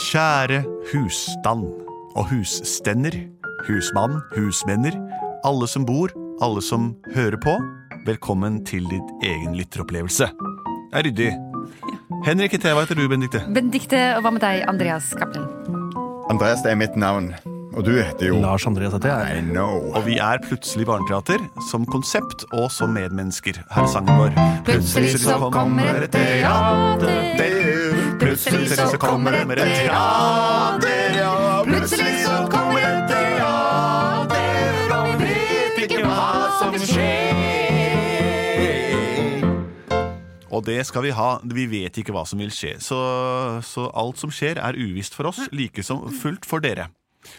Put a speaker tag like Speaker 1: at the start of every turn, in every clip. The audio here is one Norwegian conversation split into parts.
Speaker 1: Kjære husstand og husstender, husmann, husvenner, alle som bor, alle som hører på. Velkommen til ditt egen lytteropplevelse. Det er ryddig. Henrik Teva heter du, Benedikte.
Speaker 2: Benedikte, og hva med deg, Andreas Cappelen?
Speaker 3: Andreas, det er mitt navn. Og du heter jo
Speaker 4: Lars Andreas heter jeg.
Speaker 3: I know.
Speaker 1: Og vi er plutselig barneteater som konsept og som medmennesker. Her er sangen vår.
Speaker 2: Plutselig så kommer et teater.
Speaker 1: Plutselig så kommer det et teater, ja. Plutselig så kommer det et teater, og vi vet ikke hva som skjer. Og det skal vi ha. Vi vet ikke hva som vil skje. Så, så alt som skjer, er uvisst for oss, like som fullt for dere.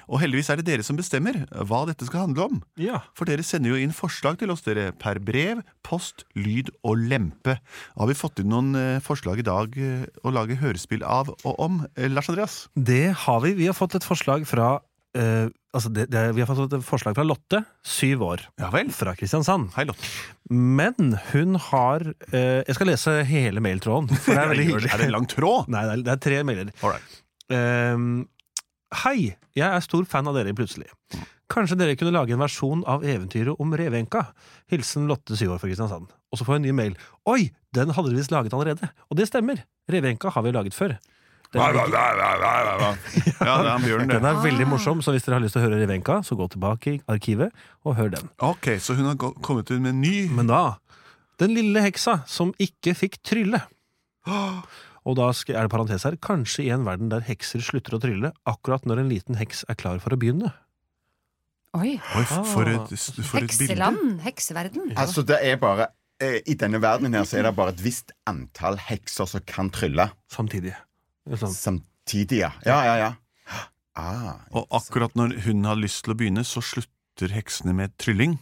Speaker 1: Og heldigvis er det dere som bestemmer hva dette skal handle om.
Speaker 4: Ja.
Speaker 1: For dere sender jo inn forslag til oss, dere, per brev, post, lyd og lempe. Har vi fått inn noen eh, forslag i dag eh, å lage hørespill av og om? Eh, Lars Andreas?
Speaker 4: Det har vi. Vi har fått et forslag fra eh, altså det, det, Vi har fått et forslag fra Lotte, syv år,
Speaker 1: Ja vel.
Speaker 4: fra Kristiansand.
Speaker 1: Hei, Lotte.
Speaker 4: Men hun har eh, Jeg skal lese hele mailtråden, for det er veldig hyggelig.
Speaker 1: Er det en lang tråd?
Speaker 4: Nei, det er, det er tre mailer.
Speaker 1: All right.
Speaker 4: Ehm, Hei, jeg er stor fan av dere i Plutselig. Kanskje dere kunne lage en versjon av eventyret om Revenka? Hilsen Lotte, syv år fra Kristiansand. Og så får jeg en ny mail. Oi, den hadde vi visst laget allerede. Og det stemmer. Revenka har vi jo laget før. Den er,
Speaker 1: Ja, det er Bjørn,
Speaker 4: den
Speaker 1: det.
Speaker 4: er veldig morsom, så hvis dere har lyst til å høre Revenka, så gå tilbake i arkivet og hør den.
Speaker 1: Ok, så hun har gå- kommet ut med en ny
Speaker 4: Men da Den lille heksa som ikke fikk trylle. Og da sk- er det parentes her. Kanskje i en verden der hekser slutter å trylle akkurat når en liten heks er klar for å begynne.
Speaker 2: Oi.
Speaker 1: Oi, for
Speaker 4: Ah.
Speaker 1: et, for et bilde.
Speaker 2: Hekseland. Hekseverden.
Speaker 3: Altså, det er bare eh, I denne verdenen her så er det bare et visst antall hekser som kan trylle
Speaker 4: Samtidig. Det er Sånn.
Speaker 3: samtidig, ja. Ja, ja, ja. Ah,
Speaker 1: Og akkurat når hun har lyst til å begynne, så slutter heksene med trylling.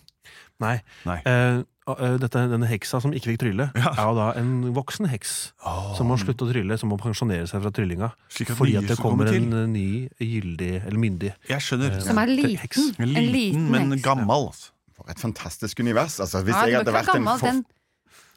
Speaker 4: Nei.
Speaker 1: Nei.
Speaker 4: Eh, og, eh, dette, denne heksa som ikke fikk trylle, er jo da en voksen heks som må slutte å trylle, som må pensjonere seg fra tryllinga.
Speaker 1: Slik at
Speaker 4: fordi
Speaker 1: nye
Speaker 4: at det
Speaker 1: skal komme
Speaker 4: kommer en
Speaker 1: til.
Speaker 4: eh, ny gyldig, eller myndig
Speaker 1: Jeg skjønner.
Speaker 2: Som er
Speaker 4: Heks.
Speaker 2: liten. En liten
Speaker 1: men
Speaker 2: heks.
Speaker 1: gammel. altså.
Speaker 3: for et fantastisk univers. Altså, hvis
Speaker 2: Ja, den må
Speaker 3: jeg hadde
Speaker 2: ikke være
Speaker 3: vært en
Speaker 2: gammel,
Speaker 3: for...
Speaker 2: den.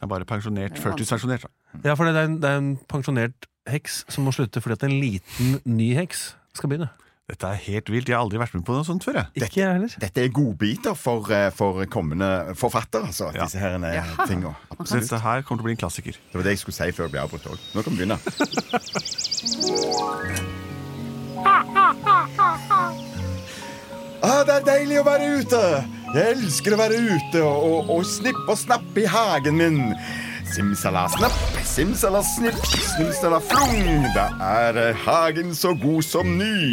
Speaker 1: Jeg er bare pensjonert. Førtidspensjonert. da.
Speaker 4: Ja, for det er en, det er en pensjonert heks som må slutte fordi at en liten, ny heks skal begynne.
Speaker 1: Dette er helt vilt. Jeg har aldri vært med på noe sånt før. jeg
Speaker 4: Ikke jeg heller.
Speaker 3: Dette er godbiter for, eh, for kommende forfattere, altså.
Speaker 1: Ja.
Speaker 3: Disse her eh,
Speaker 2: Jaha.
Speaker 3: tinga.
Speaker 1: Så
Speaker 3: Absolutt.
Speaker 1: dette her kommer til å bli en klassiker.
Speaker 3: Det var det jeg skulle si før jeg ble avbrutt òg. Nå kan vi begynne. Ah, det er deilig å være ute! Jeg elsker å være ute og, og, og snippe og snappe i hagen min. Simsalasnapp, simsalasnipp, simsalaflung. Da er eh, hagen så god som ny.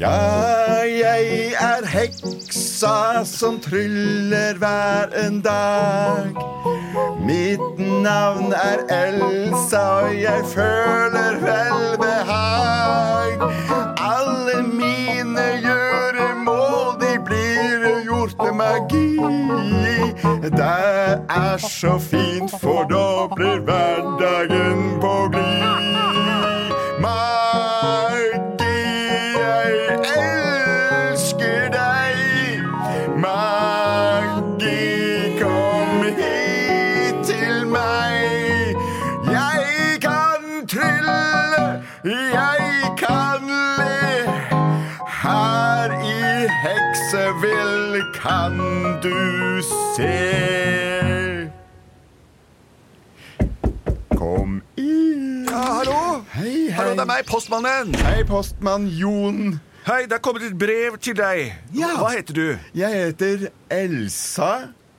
Speaker 3: Ja, jeg er heksa som tryller hver en dag. Mitt navn er Elsa, og jeg føler velbehag. Alle mine gjøremål, de blir gjort med magi. Det er så fint, for da blir hverdagen på glid. Magi, jeg elsker deg. Maggi, kom hit til meg. Jeg kan trylle, jeg kan le. Her i Heksevill kan du se. Kom inn.
Speaker 1: hallo!
Speaker 3: Hei, hei.
Speaker 1: Hallo, det er meg, postmannen!
Speaker 3: Hei, postmann Jon.
Speaker 1: Hei, det er kommet et brev til deg.
Speaker 3: Ja.
Speaker 1: Hva heter du?
Speaker 3: Jeg heter Elsa.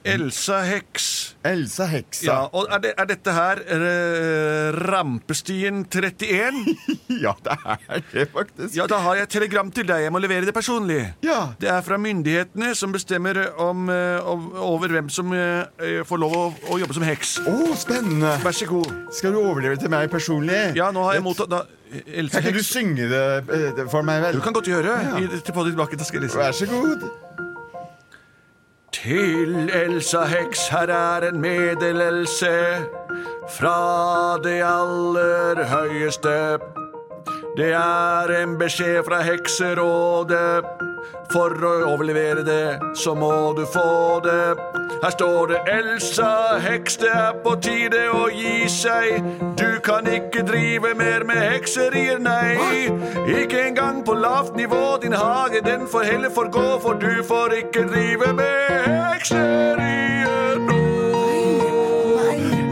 Speaker 1: Elsa Heks.
Speaker 3: Elsa Heksa.
Speaker 1: Ja, og er, det, er dette her eh, Rampestien 31?
Speaker 3: Ja, det er det faktisk.
Speaker 1: Ja, da har jeg et telegram til deg. Jeg må levere det personlig.
Speaker 3: Ja.
Speaker 1: Det er fra myndighetene som bestemmer om, eh, om, over hvem som eh, eh, får lov å, å jobbe som heks.
Speaker 3: Å, spennende.
Speaker 1: Vær så god.
Speaker 3: Skal du overleve til meg personlig?
Speaker 1: Ja, nå har jeg mottatt da, Elsa
Speaker 3: Kan ikke du
Speaker 1: Heks.
Speaker 3: synge det eh, det for meg, vel?
Speaker 1: Du kan godt gjøre. I, til på ditt bakke, da skal jeg lese.
Speaker 3: Vær så god.
Speaker 1: Til Elsa Heks, her er en meddelelse fra det aller høyeste. Det er en beskjed fra Hekserådet. For å overlevere det, så må du få det. Her står det Elsa, heks, det er på tide å gi seg. Du kan ikke drive mer med hekserier, nei. Ikke engang på lavt nivå, din hage, den får heller forgå, for du får ikke drive med hekserier nå.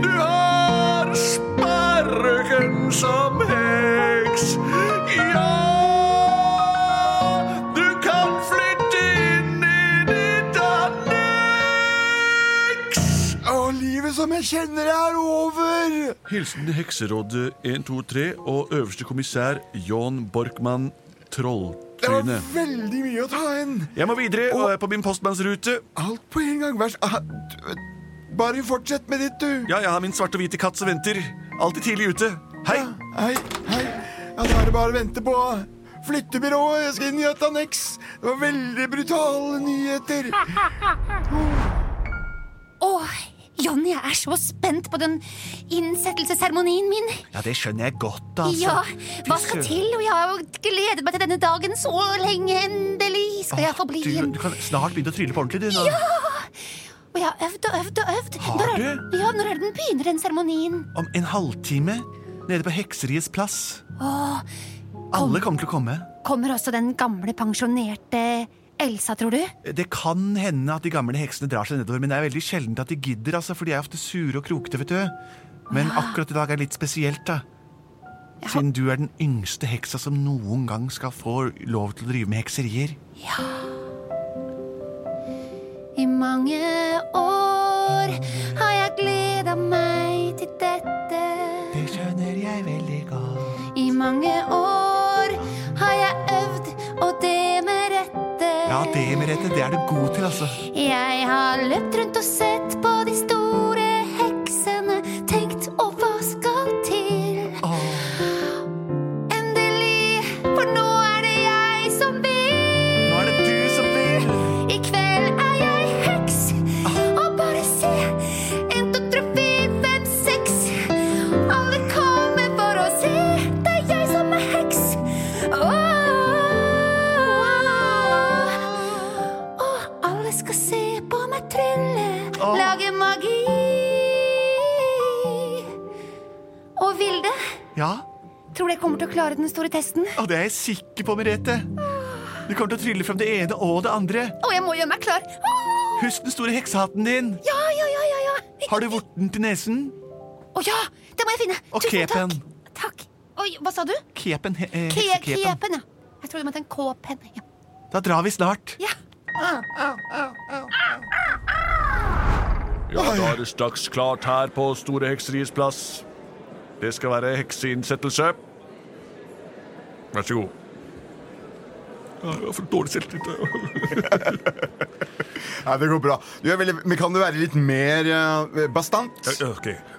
Speaker 1: Du har sparken som heks. Ja, du kan flytte inn i ditt anneks.
Speaker 3: Å, livet som jeg kjenner det er over!
Speaker 1: Hilsen Hekserådet 123 og øverste kommissær John Borkmann
Speaker 3: Det var
Speaker 1: Trolltryne.
Speaker 3: veldig mye å ta inn.
Speaker 1: Jeg må videre og er på min postmannsrute.
Speaker 3: Alt på en gang. Vær så ah, du- Bare fortsett med ditt, du.
Speaker 1: Ja, jeg har min svarte og hvite katt som venter. Alltid tidlig ute. Hei!
Speaker 3: Hei, hei. Ja, da er det bare å vente på flyttebyrået. Jeg skal inn i et anneks. Det var veldig brutale nyheter.
Speaker 2: Åh, Jonny, jeg er så spent på den innsettelsesseremonien min.
Speaker 1: Ja, det skjønner jeg godt, altså.
Speaker 2: Ja, hva skal til? Og jeg har jo gledet meg til denne dagen så lenge. Endelig skal jeg få bli
Speaker 1: Du,
Speaker 2: en
Speaker 1: du kan snart begynne å trylle på ordentlig, du. Nå.
Speaker 2: Og jeg har øvd og øvd og øvd.
Speaker 1: Har
Speaker 2: når, er- Ja, når er det den begynner, den seremonien?
Speaker 1: Om en halvtime, nede på Hekseriets plass. Alle kommer til å komme.
Speaker 2: Kommer også den gamle, pensjonerte Elsa, tror du?
Speaker 1: Det kan hende at de gamle heksene drar seg nedover, men det er veldig sjeldent at de gidder, altså, for de er ofte sure og krokete, vet du. Men akkurat i dag er det litt spesielt, da. Siden du er den yngste heksa som noen gang skal få lov til å drive med hekserier.
Speaker 2: I mange år har jeg gleda meg til dette.
Speaker 1: Det skjønner jeg veldig godt.
Speaker 2: I mange år har jeg øvd, og det med rette.
Speaker 1: Ja, det med rette, det er du god til, altså.
Speaker 2: Jeg har løpt rundt og sett på de store heksene, tenkt å hva skal til?
Speaker 1: Åh,
Speaker 2: Endelig, for nå er det jeg som vil.
Speaker 1: nå er det du som vil!
Speaker 2: I kveld er jeg heks. Og bare se. En, to, tre, fire, fem, seks. Alle kommer for å se. Det er jeg som er heks. Åh. Og alle skal se på meg trylle,
Speaker 1: Åh.
Speaker 2: lage magi. Og Vilde,
Speaker 1: Ja,
Speaker 2: tror du jeg kommer til å klare den store testen?
Speaker 1: og det er jeg sikker på, Merete. Du kommer til å trylle frem det ene og det andre.
Speaker 2: Å, jeg må gjøre meg klar. Åh.
Speaker 1: Husk den store heksehatten din.
Speaker 2: Ja, ja, ja, ja, ja.
Speaker 1: Har du vorten til nesen?
Speaker 2: Å ja! Det må jeg finne!
Speaker 1: Og
Speaker 2: Tusen
Speaker 1: kepen.
Speaker 2: Takk. takk. Oi, hva sa du?
Speaker 1: Kepen, he eh,
Speaker 2: Ke
Speaker 1: heksekepen.
Speaker 2: kepen, ja. Jeg trodde du mente en K-penn. Ja.
Speaker 1: Da drar vi snart.
Speaker 2: ja.
Speaker 1: Ja, da er det straks klart her på Store Hekseriets plass. Det skal være hekseinnsettelse. Vær så god. Jeg har for dårlig selvtillit.
Speaker 3: Ja, det går bra. Du er veldig, men kan du være litt mer eh, bastant?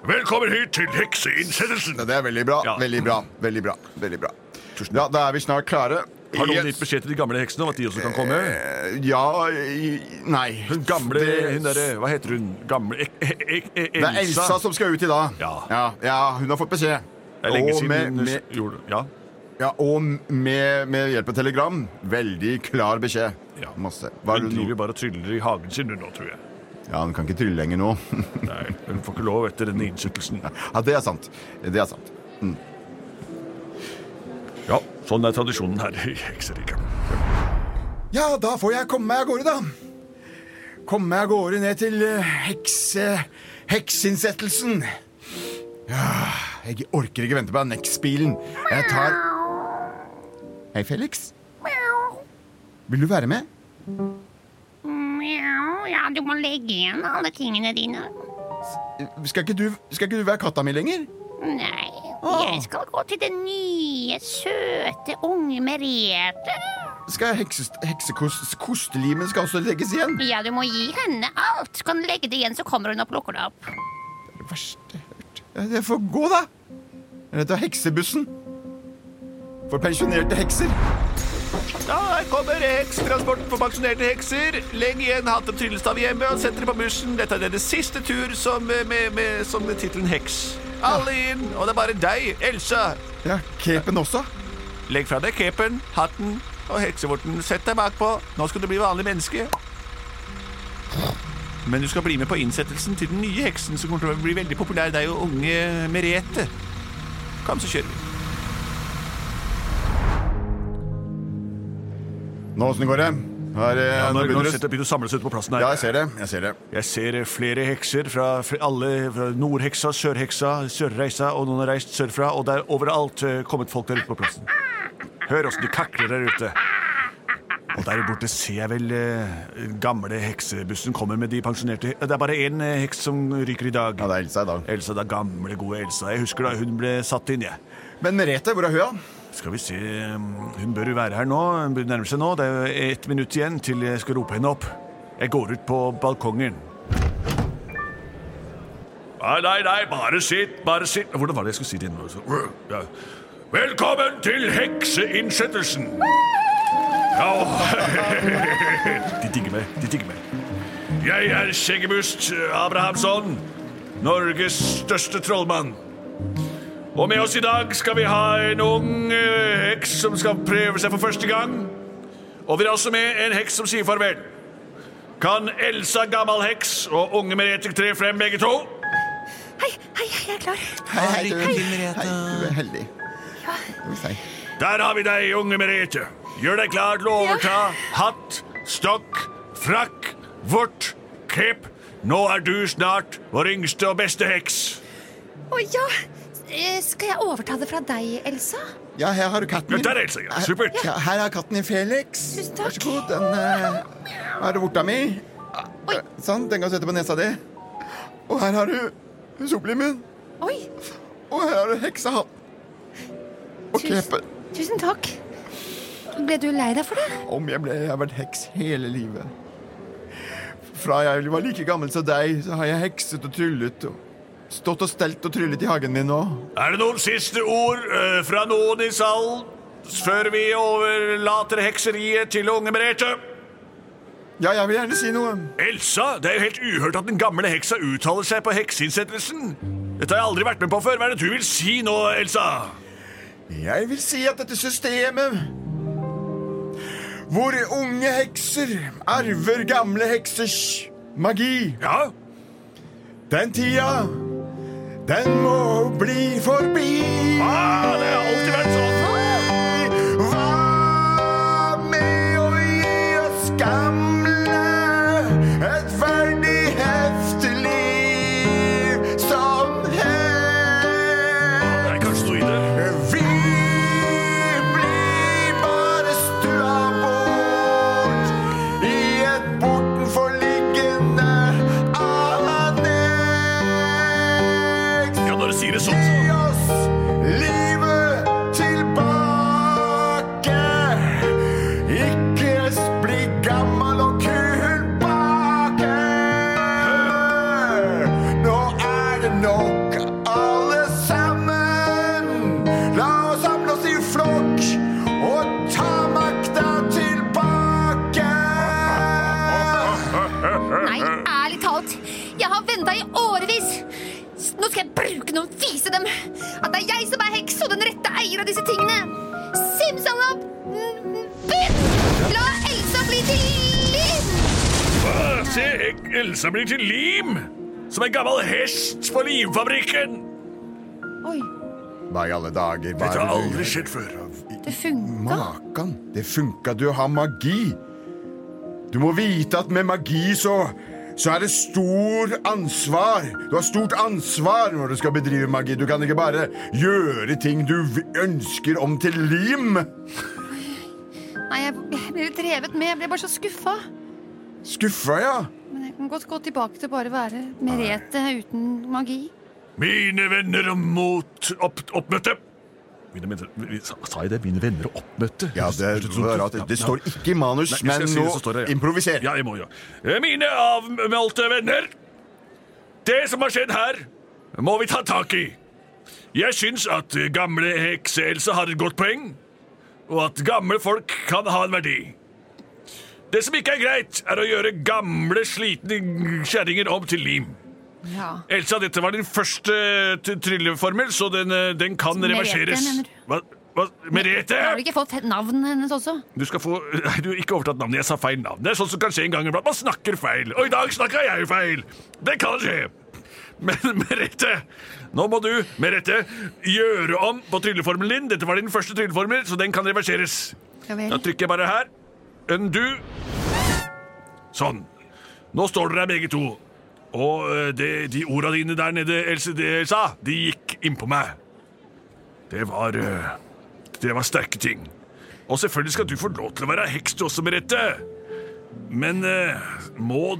Speaker 1: Velkommen hit til hekseinnsettelsen.
Speaker 3: Ja, det er veldig bra.
Speaker 1: Ja.
Speaker 3: Veldig bra. Veldig bra. Veldig bra. Ja, da er vi snart klare.
Speaker 1: Har noen
Speaker 3: Yes.
Speaker 1: gitt beskjed til de gamle heksene om at de også kan komme?
Speaker 3: Eh, Ja i- Nei.
Speaker 1: Hun gamle
Speaker 3: Det-
Speaker 1: hun derre Hva heter hun? Gamle ek, ek, ek, ek,
Speaker 3: Det er Elsa som skal ut i dag.
Speaker 1: Ja.
Speaker 3: ja, ja, hun har fått beskjed.
Speaker 1: Det er lenge
Speaker 3: Og med-
Speaker 1: siden hun
Speaker 3: med-
Speaker 1: gjorde Ja.
Speaker 3: Ja, og med, med hjelp av telegram. Veldig klar beskjed.
Speaker 1: Ja.
Speaker 3: Masse. Hva er
Speaker 1: Hun
Speaker 3: det
Speaker 1: driver
Speaker 3: nå?
Speaker 1: bare og tryller i hagen sin, hun nå, tror jeg.
Speaker 3: Ja, hun kan ikke trylle lenger nå.
Speaker 1: Nei, Hun får ikke lov etter denne innsettelsen.
Speaker 3: ja, det er sant. Det er sant.
Speaker 1: Ja, sånn er tradisjonen her i Hekseriket.
Speaker 3: Ja, da får jeg komme meg av gårde, da. Komme meg av gårde ned til eh, hekse... heksinnsettelsen. Ja, jeg orker ikke vente på anneksbilen. Jeg tar Hei, Felix.
Speaker 5: Mjau.
Speaker 3: Vil du være med?
Speaker 5: Mjau. Ja, du må legge igjen alle tingene dine.
Speaker 3: Skal ikke du, skal ikke du være katta mi lenger?
Speaker 5: Nei, jeg skal gå til den nye, søte unge Merete.
Speaker 3: Skal hekses- heksekost- Kostelimen skal også legges igjen?
Speaker 5: Ja, du må gi henne alt. Kan du legge det igjen, så kommer hun og plukker det opp.
Speaker 3: Det verste jeg har hørt. Ja, Jeg får gå, da. Eller ta heksebussen. For pensjonerte hekser.
Speaker 1: Da kommer hekstransporten for pensjonerte hekser. Legg igjen hatt og tryllestav hjemme og sett dere på bussen. Dette er deres siste tur som, eh, med, med, som med tittelen heks. Alle inn, og det er bare deg, Elsa.
Speaker 3: Ja, Capen også.
Speaker 1: Legg fra deg capen, hatten og heksevorten. Sett deg bakpå. Nå skal du bli vanlig menneske. Men du skal bli med på innsettelsen til den nye heksen som kommer til å bli veldig populær, deg og unge Merete. Kom, så kjører vi.
Speaker 3: Nå, åssen går det? Her, eh,
Speaker 1: Ja,
Speaker 3: nå
Speaker 1: når
Speaker 3: begynner
Speaker 1: når
Speaker 3: det
Speaker 1: det begynner å samles ut på plassen
Speaker 3: Ja,
Speaker 1: her.
Speaker 3: jeg ser det. jeg ser det.
Speaker 1: Jeg ser eh, flere hekser fra fra alle fra Nordheksa, Sørheksa, Sørreisa, og noen har reist sørfra, og det er overalt eh, kommet folk der ute på plassen. Hør åssen de kakler der ute. Og der borte ser jeg vel eh, gamle heksebussen kommer med de pensjonerte Det er bare én eh, heks som ryker i dag.
Speaker 3: Ja, det er Elsa i dag.
Speaker 1: Elsa, da gamle, gode Elsa. Jeg husker da hun ble satt inn, jeg.
Speaker 3: Men Merete, hvor er hun? da?
Speaker 1: Skal vi se mm, Hun bør jo være her nå. Hun bør nærme seg nå. Det er jo ett minutt igjen til jeg skal rope henne opp. Jeg går ut på balkongen. Nei, nei, nei, bare sitt, bare sitt. Hvordan var det jeg skulle si det nå? Så- Ja. Velkommen til hekseinnsettelsen! Ja, og- De digger meg. De digger meg. Jeg er Skjeggebust Abrahamsson, Norges største trollmann. Og med oss i dag skal vi ha en ung eh, heks som skal prøve seg for første gang. Og vi har også med en heks som sier farvel. Kan Elsa gammel heks og unge Merete tre frem begge to?
Speaker 2: Hei, hei, hei, jeg er klar.
Speaker 3: Hei, hei, du, hei, du er heldig. Skal vi se.
Speaker 1: Der har vi deg, unge Merete. Gjør deg klar til å overta hatt, stokk, frakk, vort, cape. Nå er du snart vår yngste og beste heks.
Speaker 2: Å ja. Eh, Skal jeg overta det fra deg, Elsa?
Speaker 3: Ja, her har du katten
Speaker 1: Ja, der er Elsa, ja. Supert.
Speaker 3: Ja, her er katten din, Felix.
Speaker 2: Tusen takk.
Speaker 3: Vær så god. Den eh, har du vorta mi.
Speaker 2: Oi.
Speaker 3: Sånn, den kan du sette på nesa di. Og her har du soplimen.
Speaker 2: Oi,
Speaker 3: Og her har du heksehatten. Og krepen.
Speaker 2: tusen takk. Ble du lei deg for det?
Speaker 3: Om jeg ble Jeg har vært heks hele livet. Fra jeg var like gammel som deg, så har jeg hekset og tryllet. Og stått og stelt og tryllet i hagen min nå.
Speaker 1: Er det noen siste ord eh, fra noen i salen før vi overlater hekseriet til unge Merete?
Speaker 3: Ja, jeg vil gjerne si noe.
Speaker 1: Elsa, det er jo helt uhørt at den gamle heksa uttaler seg på hekseinnsettelsen. Dette har jeg aldri vært med på før. Hva er det du vil si nå, Elsa?
Speaker 3: Jeg vil si at dette systemet hvor unge hekser arver gamle heksers magi
Speaker 1: Ja?
Speaker 3: Den tida, den må bli forbi.
Speaker 1: Ah, det har alltid vært sånn.
Speaker 3: Hva med å gi oss gamle et verdig, heftig liv som helst?
Speaker 1: Nei, kanskje du ikke.
Speaker 3: Vi blir bare stua bort i et bortenforliggende anneks.
Speaker 1: Ja, når du sier det sånn, så
Speaker 3: Gi oss livet tilbake. Ikke bli gammel og kul bake. Nå er det nok, alle sammen. La oss samle oss i flokk og ta makta tilbake.
Speaker 2: Nei, ærlig talt. Jeg har venta i årevis. Nå skal jeg bruke noen vise dem at det er jeg som er heks og den rette eier av disse tingene. Simsalab! mm, Bind! La Elsa bli til Linn!
Speaker 1: Ah, Se, hek- Elsa blir til lim! Som en gammel hest på limfabrikken.
Speaker 2: Oi,
Speaker 3: Hva i alle dager? Hva
Speaker 1: Dette har
Speaker 3: er det du
Speaker 1: aldri
Speaker 3: gjør?
Speaker 1: skjedd før.
Speaker 2: det funka.
Speaker 3: Makan, det funka. Du har magi. Du må vite at med magi så så er det stor ansvar. Du har stort ansvar når du skal bedrive magi. Du kan ikke bare gjøre ting du v- ønsker om til lim.
Speaker 2: Nei, jeg ble litt revet med. Jeg ble bare så skuffa.
Speaker 3: Skuffa, ja.
Speaker 2: Men jeg kan godt gå tilbake til bare å være Merete uten magi.
Speaker 1: Mine venner og mot opp, oppmøte. Mine venner, vi- sa sa jeg det? Mine venner og oppmøte?
Speaker 3: Ja, det,
Speaker 1: Hørtes
Speaker 3: var
Speaker 1: ut
Speaker 3: rart.
Speaker 1: som-
Speaker 3: det står ikke i manus,
Speaker 1: Nei, skal
Speaker 3: men
Speaker 1: jeg si det,
Speaker 3: nå
Speaker 1: så står det, ja.
Speaker 3: improviser.
Speaker 1: Ja, jeg må jo. Eh, Mine avmeldte venner. Det som har skjedd her, må vi ta tak i. Jeg syns at eh, gamle hekse-Elsa har et godt poeng, og at gamle folk kan ha en verdi. Det som ikke er greit, er å gjøre gamle, slitne kjerringer om til lim.
Speaker 2: Ja.
Speaker 1: Elsa, dette var din første t- trylleformel, så den, eh, den kan
Speaker 2: Merete,
Speaker 1: reverseres.
Speaker 2: mener du?
Speaker 1: Hva? Hva? Merete!
Speaker 2: Har du ikke fått navnet hennes også?
Speaker 1: Du skal få Nei, du har ikke overtatt navnet. Jeg sa feil navn. Det er sånn som kan skje en gang iblant. Man snakker feil. Og i dag snakka jeg feil. Det kan skje. Men Merete, nå må du Merete, gjøre om på trylleformelen din. Dette var din første trylleformel, så den kan reverseres.
Speaker 2: Ja vel.
Speaker 1: Da trykker jeg bare her. Undo. Sånn. Nå står dere her begge to. Og eh, det, de orda dine der nede, Else, det Elsa, de gikk innpå meg. Det var eh, Det var sterke ting. Og selvfølgelig skal du få lov til å være heks, du også, Merete. Men eh, må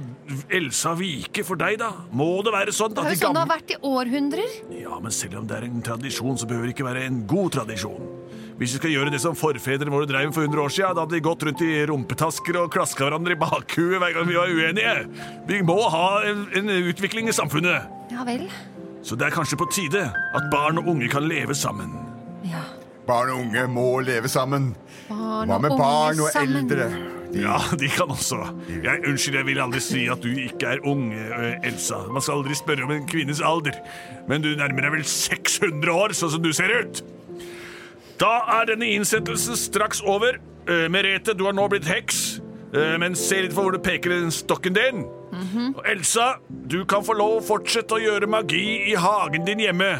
Speaker 1: Elsa vike for deg, da? Må det være sånn
Speaker 2: Det
Speaker 1: at
Speaker 2: er
Speaker 1: de
Speaker 2: jo sånn det har
Speaker 1: gamle
Speaker 2: vært i århundrer.
Speaker 1: Ja, men selv om det er en tradisjon, så behøver det ikke være en god tradisjon. Hvis vi skal gjøre det som forfedrene våre dreiv med for 100 år siden, da hadde de gått rundt i rumpetasker og klaska hverandre i bakhuet hver gang vi var uenige. Vi må ha en, en utvikling i samfunnet.
Speaker 2: Ja vel.
Speaker 1: Så det er kanskje på tide at barn og unge kan leve sammen.
Speaker 2: Ja.
Speaker 3: Barn og unge må leve sammen.
Speaker 2: Barn
Speaker 3: Hva med
Speaker 2: og
Speaker 3: barn
Speaker 2: unge
Speaker 3: og
Speaker 2: sammen.
Speaker 3: eldre? De,
Speaker 1: Ja, de kan også. Jeg, unnskyld, jeg vil aldri si at du ikke er ung, eh, Elsa. Man skal aldri spørre om en kvinnes alder. Men du nærmer deg vel 600 år, sånn som du ser ut. Da er denne innsettelsen straks over. Eh, Merete, du har nå blitt heks. eh, Men se litt for hvor du peker den stokken din. Og Elsa, du kan få lov å fortsette å gjøre magi i hagen din hjemme.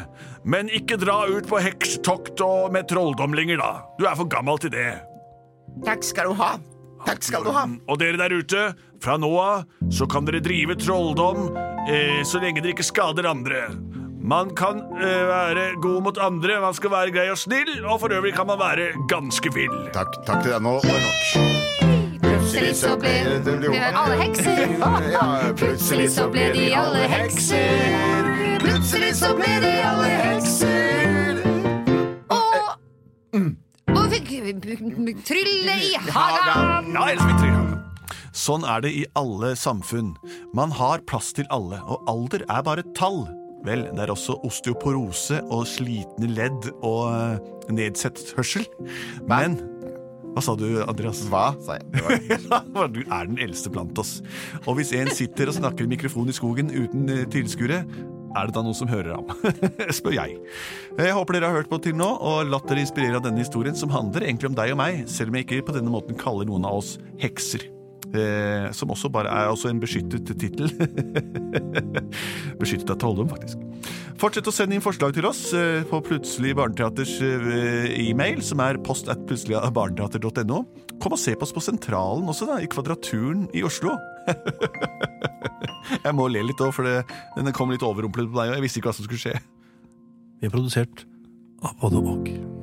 Speaker 1: Men ikke dra ut på hekstokt og med trolldomlinger, da. Du er for gammel til det.
Speaker 3: Takk skal du ha. Takk skal du ha.
Speaker 1: Og dere der ute, fra nå av så kan dere drive trolldom eh, så lenge dere ikke skader andre. Man kan eh, være god mot andre, man skal være grei og snill, og for øvrig kan man være ganske vill.
Speaker 3: Takk, takk til deg. Nå var det nok.
Speaker 2: Plutselig så ble vi er alle hekser.
Speaker 3: Ja, plutselig så ble de alle hekser. Plutselig så ble de alle hekser.
Speaker 2: Og, og fikk trylle i hagen.
Speaker 1: Ja, ellers vi tryller.
Speaker 6: Sånn er det i alle samfunn. Man har plass til alle, og alder er bare et tall. Vel, det er også osteoporose og slitne ledd og eh, nedsatt hørsel. Men Hva sa du, Andreas?
Speaker 3: Hva, sa jeg. Det var-
Speaker 6: du er den eldste blant oss. Og hvis en sitter og snakker i mikrofon i skogen uten eh, tilskuere, er det da noen som hører ham? Spør jeg. Jeg håper dere har hørt på til nå, og latt dere inspirere av denne historien, som handler egentlig om deg og meg, selv om jeg ikke på denne måten kaller noen av oss hekser. Eh, som også bare er også en beskyttet tittel. beskyttet av Tollum, faktisk. Fortsett å sende inn forslag til oss eh, på Plutselig barneteaters eh, e-mail, som er post at plutseligbarneteater.no. Kom og se på oss på Sentralen også, da, i Kvadraturen i Oslo. jeg må le litt òg, for det, den kom litt overrumplet på deg, og jeg visste ikke hva som skulle skje.
Speaker 4: Vi er produsert av både og.